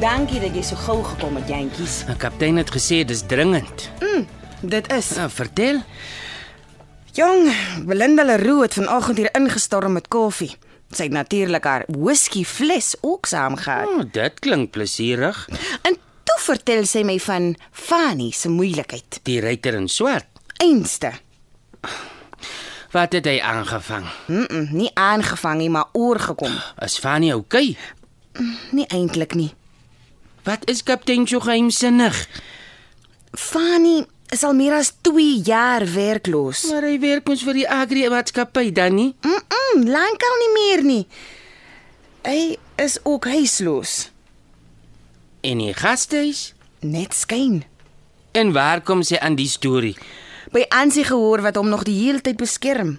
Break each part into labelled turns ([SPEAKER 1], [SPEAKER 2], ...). [SPEAKER 1] Dankie dat jy so gou gekom het, jentjies.
[SPEAKER 2] Die kaptein het gesê dis dringend.
[SPEAKER 1] Dit is.
[SPEAKER 2] Nou, vertel.
[SPEAKER 1] Jong, Belinda Leroux het vanoggend hier ingestorm met koffie. Sy het natuurlik haar whisky fles ook saamgehaal.
[SPEAKER 2] Oh, dit klink plesierig.
[SPEAKER 1] En toe vertel sy my van Fanny se moeilikheid.
[SPEAKER 2] Die ruiter in swart.
[SPEAKER 1] Einste.
[SPEAKER 2] Wat het hy aangevang?
[SPEAKER 1] Mm -mm, nie aangevang nie, maar oorgekom.
[SPEAKER 2] Is Fanny oukei? Okay?
[SPEAKER 1] Nie eintlik nie.
[SPEAKER 2] Wat is kaptein so geheimsinnig?
[SPEAKER 1] Fanny is al meer as 2 jaar werkloos.
[SPEAKER 2] Maar hy werk ons vir die Agri maatskappy dan nie.
[SPEAKER 1] Mm, -mm lankal nie meer nie. Hy is ook huisloos.
[SPEAKER 2] En die gastehuis?
[SPEAKER 1] Net skyn.
[SPEAKER 2] En waar kom sy aan die storie?
[SPEAKER 1] By Ansie gehoor wat hom nog die hele tyd beskerm.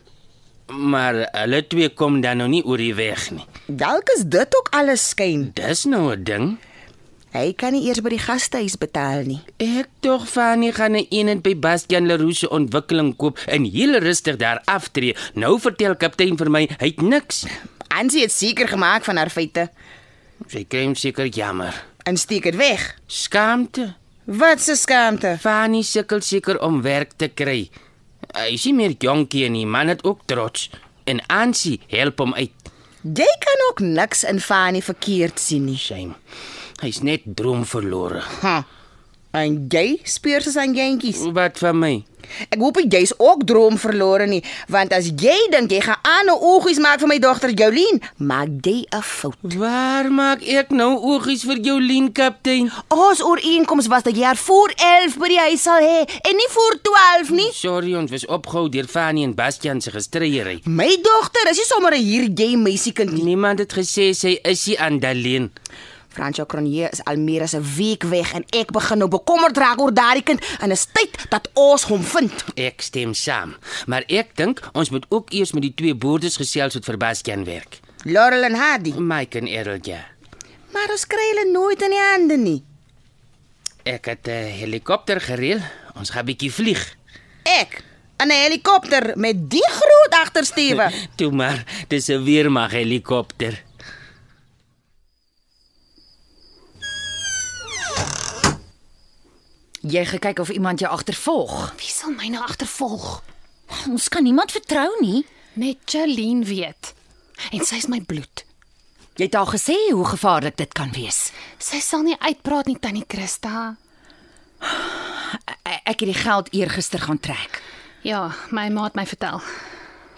[SPEAKER 2] Maar hulle twee kom dan nou nie oor die weg nie.
[SPEAKER 1] Dalk is dit ook alles skyn.
[SPEAKER 2] Dis nou 'n ding.
[SPEAKER 1] Hy kan nie eers by die gastehuis betaal nie.
[SPEAKER 2] Ek tog Fanny gaan 'n eenheid by Bastian Leroux se ontwikkeling koop en heel rustig daar aftree. Nou vertel kaptein vir my, hy het niks.
[SPEAKER 1] Ansie het seker gemaak van haar feite
[SPEAKER 2] Sy kry hom seker jammer.
[SPEAKER 1] en steek dit weg.
[SPEAKER 2] Skaamte.
[SPEAKER 1] Wat 'n skaamte.
[SPEAKER 2] Fanny sukkel seker om werk te kry. Hy is nie meer jonkie en die man het ook trots en Ansie help hom uit.
[SPEAKER 1] Jy kan ook niks in Fanny verkeerd sien nie.
[SPEAKER 2] Shame. Hy's net droomverlore.
[SPEAKER 1] Ha. En jy speur soos aan jentjies.
[SPEAKER 2] Wat van my?
[SPEAKER 1] Ek hoop jy's ook droomverlore nie, want as jy dink jy gaan aan 'n oogies maak vir my dogter Jolien, maak jy 'n fout.
[SPEAKER 2] Waar maak ek nou oogies vir jou lien kaptein?
[SPEAKER 1] Ons ooreenkoms was dat jy haar voor 11 by die huis sal hê en nie voor 12 nie.
[SPEAKER 2] Sorry, ons was opgehou deur Fanny en Bastian se gestryery.
[SPEAKER 1] My dogter is nie sommer 'n hier jy meisiekind nie.
[SPEAKER 2] Niemand het gesê sy is nie aan Daleen.
[SPEAKER 1] Franco Cronje is al meer as 'n week weg en ek begin nou bekommerd raak oor daardie kind en is tyd dat ons hom vind.
[SPEAKER 2] Ek stem saam, maar ek dink ons moet ook eers met die twee boerders gesels wat vir Bastian werk.
[SPEAKER 1] Laurel en Hardy,
[SPEAKER 2] Mike en Errol ja.
[SPEAKER 1] maar ons kry hulle nooit in die hande nie.
[SPEAKER 2] Ek het 'n helikopter gereël. Ons gaan bietjie vlieg.
[SPEAKER 1] Ek in 'n helikopter met die groot agtersteuwe.
[SPEAKER 2] Toe maar, dis 'n weermag helikopter.
[SPEAKER 3] Jy gekyk of iemand jou agtervolg.
[SPEAKER 4] Wie sal my nou agtervolg?
[SPEAKER 3] Ons kan niemand vertrou nie.
[SPEAKER 4] Net Jolene weet. En sy's my bloed.
[SPEAKER 3] Jy het al gesê hoe gevaarlik dit kan wees.
[SPEAKER 4] Sy sal nie uitpraat nie, Tannie Christa.
[SPEAKER 3] E- Ek het die geld eergister gaan trek.
[SPEAKER 4] Ja, my ma het my vertel.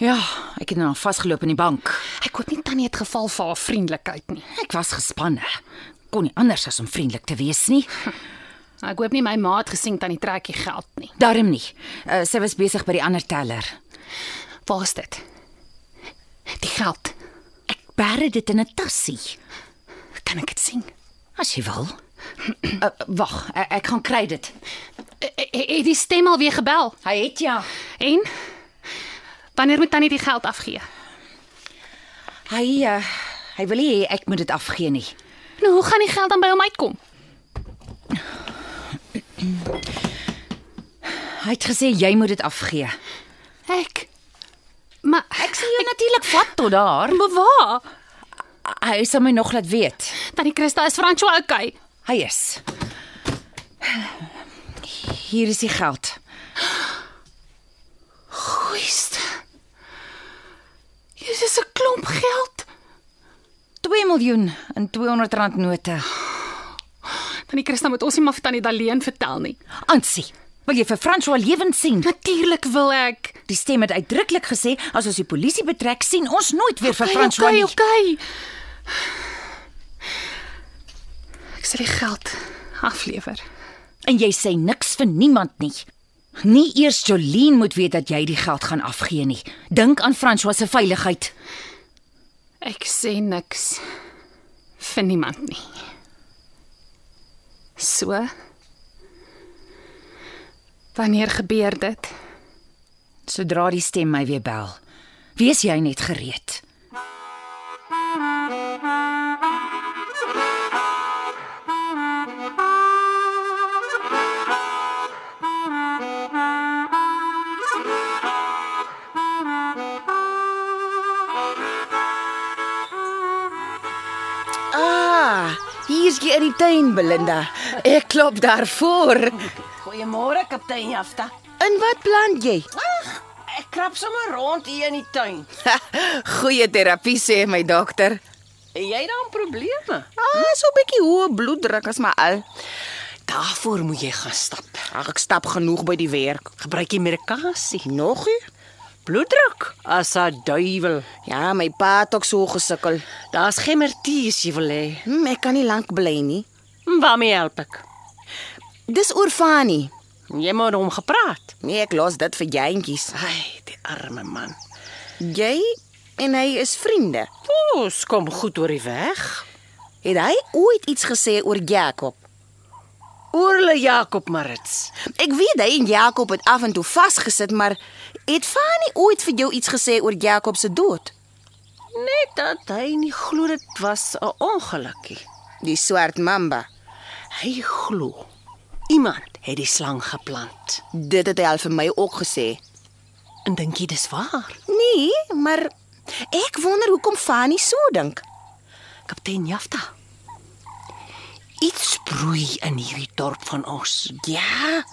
[SPEAKER 3] Ja, ek het nou vasgeloop in die bank.
[SPEAKER 4] Ek hoop nie Tannie het geval vir haar vriendelikheid nie.
[SPEAKER 3] Ek was gespanne. Kon nie anders as om vriendelik te wees nie.
[SPEAKER 4] Ek hoop nie my ma het gesien Tannie trek die geld nie.
[SPEAKER 3] Daarom nie. Uh, sy was besig by die ander teller.
[SPEAKER 4] Waar is dit? Die geld.
[SPEAKER 3] Ek bære dit in 'n tassie,
[SPEAKER 4] Kan ek dit sien?
[SPEAKER 3] as jy wil. Uh, Wag, ek, ek gaan kry dit.
[SPEAKER 4] Het die stem al weer gebel?
[SPEAKER 3] Hy het ja.
[SPEAKER 4] En wanneer moet Tannie die geld afgee?
[SPEAKER 3] Hy uh, hy wil nie hê ek moet dit afgee nie.
[SPEAKER 4] Nou, hoe gaan die geld dan by hom uitkom?
[SPEAKER 3] Hy het gesê jy moet dit afgee.
[SPEAKER 4] Ek. Maar ek
[SPEAKER 3] Jy natuurlik vat tot daar.
[SPEAKER 4] bewaar.
[SPEAKER 3] Hy sal my nog laat weet.
[SPEAKER 4] Tannie Christa is Franco okay.
[SPEAKER 3] Hy is. Hier is die geld.
[SPEAKER 4] Oest. Hier is 'n klomp geld.
[SPEAKER 3] 2 miljoen in R200 note.
[SPEAKER 4] Tannie Christa moet ons nie maar vir Tannie Daleen vertel nie.
[SPEAKER 3] Ansie, wil jy vir François lewend sien?
[SPEAKER 4] Natuurlik wil ek.
[SPEAKER 3] Die stem het uitdruklik gesê as ons die polisie betrek, sien ons nooit weer vir François
[SPEAKER 4] okay,
[SPEAKER 3] nie.
[SPEAKER 4] okay. Ek sal die geld aflewer.
[SPEAKER 3] En jy sê niks vir niemand nie. Nie eers Jolien moet weet dat jy die geld gaan afgee nie. Dink aan François se veiligheid.
[SPEAKER 4] Ek sê niks vir niemand nie. So Wanneer gebeur dit?
[SPEAKER 3] Sodra die stem my weer bel, wees jy net gereed.
[SPEAKER 1] Ah, hier's jy in die tuin, Belinda. Ek klop daarvoor.
[SPEAKER 5] Goeiemôre kaptein Jafta.
[SPEAKER 1] In wat plant jy?
[SPEAKER 5] Ag, ek krap sommer rond hier in die tuin.
[SPEAKER 1] Goeie terapie sê my dokter.
[SPEAKER 5] Het jy dan probleme?
[SPEAKER 1] Ah, so 'n bietjie hoë bloeddruk is maar al.
[SPEAKER 5] Daarvoor moet jy gaan stap.
[SPEAKER 1] Ag, ek stap genoeg by die werk.
[SPEAKER 5] Gebruik jy medikasie?
[SPEAKER 1] Nog nie?
[SPEAKER 5] Bloeddruk? As 'n duiwel.
[SPEAKER 1] Ja, my pa het ook so gesukkel.
[SPEAKER 5] Daar's gemmertie as jy wil hê.
[SPEAKER 1] Hm, ek kan nie lank bly nie.
[SPEAKER 5] Hm, Waarmee help ek?
[SPEAKER 1] Dis oor Fani.
[SPEAKER 5] Jy moet hom gepraat.
[SPEAKER 1] Nee, ek los dit vir jentjies.
[SPEAKER 5] Ai, die arme man.
[SPEAKER 1] Jy en hy is vriende.
[SPEAKER 5] Ons kom goed oor die weg.
[SPEAKER 1] Het hy ooit iets gesê oor Jakob?
[SPEAKER 5] Oorle Jakob Marits.
[SPEAKER 1] Ek weet hy en Jakob het af en toe vasgesit, maar het Fani ooit vir jou iets gesê oor Jakob se dood?
[SPEAKER 5] Net dat hy nie glo dit was 'n ongelukkie.
[SPEAKER 1] Die swart mamba.
[SPEAKER 5] Hy glo iemand het die slang geplant.
[SPEAKER 1] Dit het hy al vir my ook gesê.
[SPEAKER 5] En dink jy dis waar?
[SPEAKER 1] Nee, maar ek wonder hoekom Fani so dink.
[SPEAKER 5] Kaptein Jafta. Iets broei in hierdie dorp van ons.
[SPEAKER 1] Ja.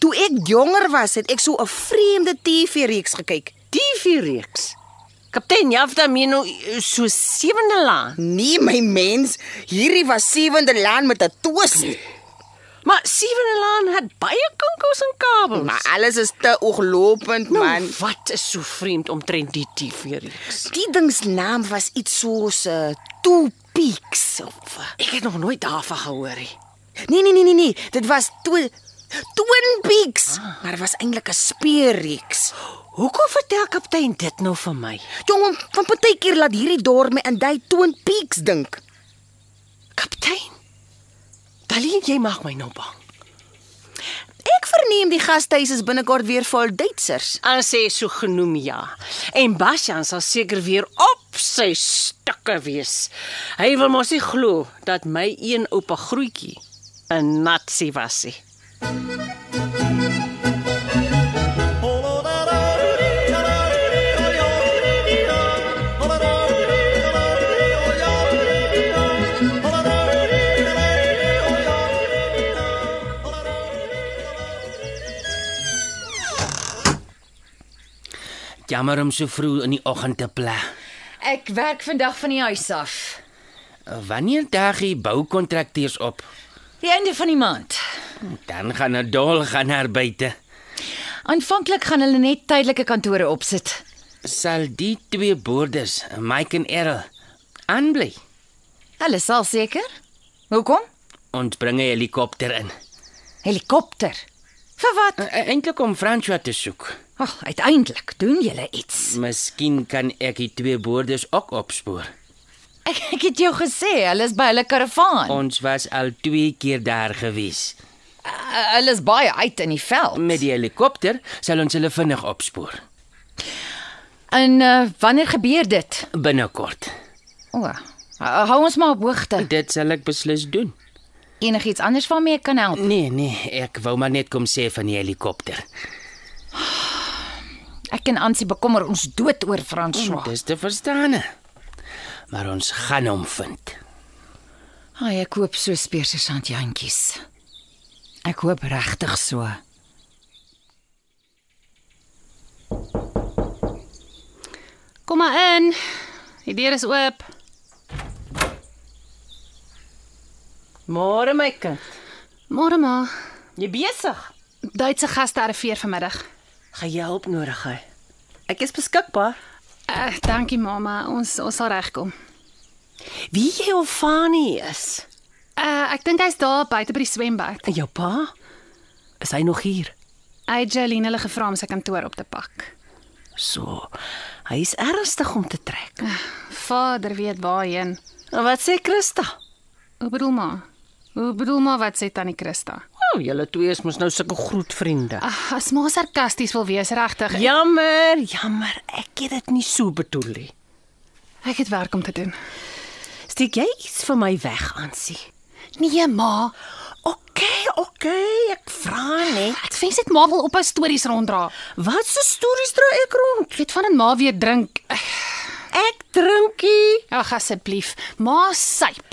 [SPEAKER 1] Toe ek jonger was, het ek so 'n vreemde TV-reeks gekyk.
[SPEAKER 5] TV reeks. Kaptein Jafta meen nou eh, so sewende laan.
[SPEAKER 1] Nee, my mens, hierdie was sewende laan met 'n twist.
[SPEAKER 5] Maar sewende laan het baie kinkels en kabels.
[SPEAKER 1] Maar alles is te ooglopend,
[SPEAKER 5] nou,
[SPEAKER 1] man.
[SPEAKER 5] wat is so vreemd omtrent die TV reeks?
[SPEAKER 1] Die ding se naam was iets soos uh, Two Peaks of
[SPEAKER 5] Ek het nog nooit daarvan gehoor nie.
[SPEAKER 1] Nee, nee, nee, nee, nee, dit was Twi Twin Peaks, ah. maar dit was eintlik 'n speerreeks.
[SPEAKER 5] Hoekom vertel kaptein dit nou vir my?
[SPEAKER 1] Jong, van partykeer laat hierdie dorp my aan daai Twin Peaks dink.
[SPEAKER 5] Kaptein. Dalien, jy maak my nou bang.
[SPEAKER 1] Ek verneem die gastehuis is binnekort weer vol Duitsers.
[SPEAKER 5] Aan sê so genoem ja. En Basjan sal seker weer op sy stukke wees. Hy wil mos nie glo dat my een oupa groetjie 'n natsie was nie.
[SPEAKER 2] Jammer om so vroeg in die oggend te pla.
[SPEAKER 3] Ek werk vandag van die huis af.
[SPEAKER 2] Wanneer daag die boukontrakteurs op?
[SPEAKER 3] Die einde van die maand.
[SPEAKER 2] Dan gaan 'n dol gaan naar buite.
[SPEAKER 3] Aanvanklik gaan hulle net tydelike kantore opsit.
[SPEAKER 2] Sal die twee boerders, Mike en Errol, aanbly.
[SPEAKER 3] Hulle sal seker. Hoekom?
[SPEAKER 2] Ons bring 'n helikopter in.
[SPEAKER 3] Helikopter. Vir wat?
[SPEAKER 2] E- Eintlik om François te soek.
[SPEAKER 3] Ag, oh, uiteindelik doen julle iets.
[SPEAKER 2] Miskien kan ek die twee boerders ook opspoor.
[SPEAKER 3] Ek, ek het jou gesê, hulle is by hulle karavaan.
[SPEAKER 2] Ons was al twee keer daar gewees.
[SPEAKER 3] Uh, hulle is baie uit in die veld.
[SPEAKER 2] Met die helikopter sal ons hulle vinnig opspoor.
[SPEAKER 3] En uh, wanneer gebeur dit?
[SPEAKER 2] Binnekort.
[SPEAKER 3] O, oh, uh, hou ons maar op hoogte.
[SPEAKER 2] Dit sal ek beslis doen.
[SPEAKER 3] Enigiets anders waarmee ek kan help?
[SPEAKER 2] Nee, nee, ek wou maar net kom sê van die helikopter.
[SPEAKER 3] Ek en Ansie bekommer ons dood oor
[SPEAKER 2] Oh.
[SPEAKER 3] François.
[SPEAKER 2] Dis te verstaan. Maar ons gaan hom vind.
[SPEAKER 3] Ai, ek koop so speerse sandjantjies. Ek hoop regtig so.
[SPEAKER 4] Kom maar in. Die deur is oop.
[SPEAKER 5] Môre my kind,
[SPEAKER 4] Môre maar.
[SPEAKER 5] jy besig?
[SPEAKER 4] Duitse gaste arriveer vanmiddag.
[SPEAKER 5] Gaan jy hulp nodig hê? Ek is beskikbaar.
[SPEAKER 4] Uh, dankie mamma, ons ons sal regkom.
[SPEAKER 5] Wie jy of Fani is.
[SPEAKER 4] Eh, Uh, ek dink hy's daar buite by die swembad.
[SPEAKER 5] En jou pa? Is hy nog hier?
[SPEAKER 4] Hy Jolene hulle gevra om sy kantoor op te pak.
[SPEAKER 5] So. Hy is ernstig om te trek.
[SPEAKER 4] Vader weet waarheen.
[SPEAKER 5] En wat sê Christa?
[SPEAKER 4] Hoe bedoel maar? Hoe bedoel maar wat sê tannie Christa?
[SPEAKER 5] O, oh, julle twee is mos nou sulke groot vriende.
[SPEAKER 4] Ag, as maar sarkasties wil wees regtig.
[SPEAKER 5] Ja. Jammer, jammer. Ek het dit nie so bedoel nie.
[SPEAKER 4] Ek het werk om te doen.
[SPEAKER 5] Steek jy iets vir my weg, Ansie?
[SPEAKER 4] Nee, ma.
[SPEAKER 5] OK, OK, ek vra net.
[SPEAKER 4] Ek wens dit maar wil op haar stories ronddra.
[SPEAKER 5] Wat se stories dra ek rond?
[SPEAKER 4] Ek weet van 'n ma weer drink.
[SPEAKER 5] Ek drinkie.
[SPEAKER 4] Ag asseblief, ma syp.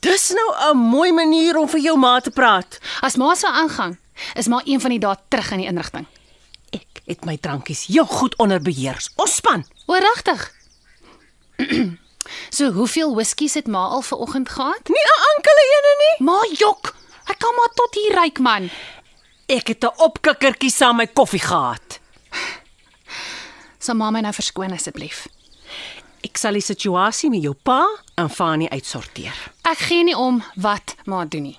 [SPEAKER 5] Dis nou 'n mooi manier om vir jou ma te praat.
[SPEAKER 4] As ma so aangaan, is ma een van die dae terug in die inrigting.
[SPEAKER 5] Ek het my drankies heel goed onder beheer. Ons span.
[SPEAKER 4] O, regtig? so hoeveel whiskies het ma al vanoggend gehad?
[SPEAKER 5] Nie 'n enkele ene nie.
[SPEAKER 4] Ma jok. Ek kan maar tot hier ryk man.
[SPEAKER 5] Ek het 'n opkikkertjie saam my koffie gehad.
[SPEAKER 4] Sal ma my nou verskoon asseblief.
[SPEAKER 5] Ek sal die situasie met jou pa en Fanie uitsorteer.
[SPEAKER 4] Ek gee nie om wat ma doen nie.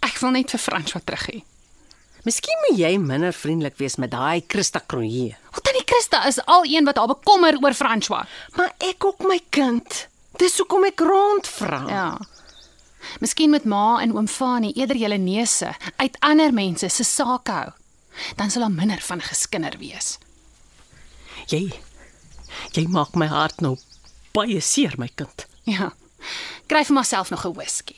[SPEAKER 4] Ek wil net vir Frans wat terug hê.
[SPEAKER 5] Miskien moet jy minder vriendelik wees met daai Christa Kronje.
[SPEAKER 4] Want tannie Christa is al een wat haar bekommer oor François.
[SPEAKER 5] Maar ek ook my kind. Dis hoekom ek rondvra.
[SPEAKER 4] Ja. Miskien moet ma en oom Fanie eerder julle neuse uit ander mense se sake hou. Dan sal daar minder van geskinder wees.
[SPEAKER 5] Jy jy maak my hart nou baie seer, my kind.
[SPEAKER 4] Ja. Kry vir myself nog 'n whisky.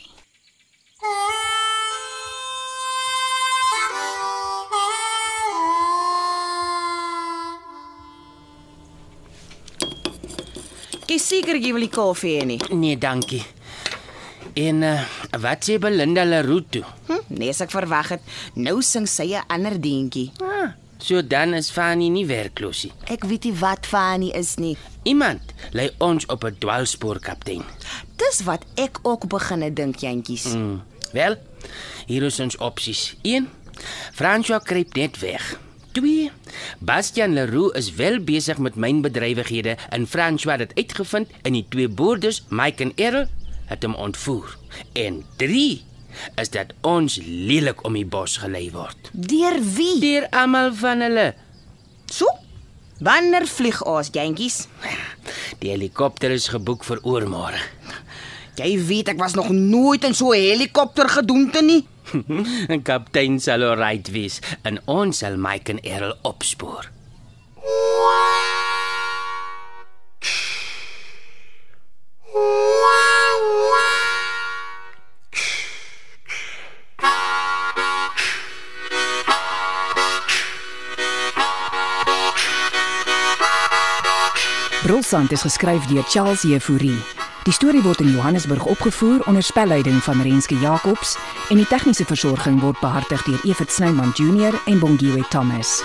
[SPEAKER 1] Ek is seker jy wil nie koffie hê nie.
[SPEAKER 2] Nee, dankie. En uh, wat sê Belinda Leroux toe?
[SPEAKER 1] Hm, nee, as ek verwag het, nou sing sy 'n ander deentjie.
[SPEAKER 2] Ah, so dan is Fanny nie werkloos nie.
[SPEAKER 1] Ek weet nie wat Fanny is nie.
[SPEAKER 2] Iemand lei ons op 'n dwaalspoor, kaptein.
[SPEAKER 1] Dis wat ek ook beginne dink, jentjies. Mm.
[SPEAKER 2] Hmm. Wel, hier is ons opsies. 1. François kruip net weg. 2. Bastian Leroux is wel besig met mynbedrywighede en François het dit uitgevind en die twee boerders, Mike en Errol, het hom ontvoer. En 3 is dat ons lelik om die bos gelei word.
[SPEAKER 1] Deur wie?
[SPEAKER 2] Deur almal van hulle.
[SPEAKER 1] So? Wanneer vlieg ons, jentjies?
[SPEAKER 2] Die helikopter is geboek vir oormôre.
[SPEAKER 1] Jy weet ek was nog nooit in so 'n helikopter gedoente nie.
[SPEAKER 2] En kaptein sal alright wees en ons sal Mike en Errol opspoor.
[SPEAKER 6] Brolsand is geskryf deur Charles Jefouri. Die storie word in Johannesburg opgevoer onder spelleiding van Renske Jacobs en die tegniese versorging word behartig deur Evert Snyman Junior en Bongwe Thomas.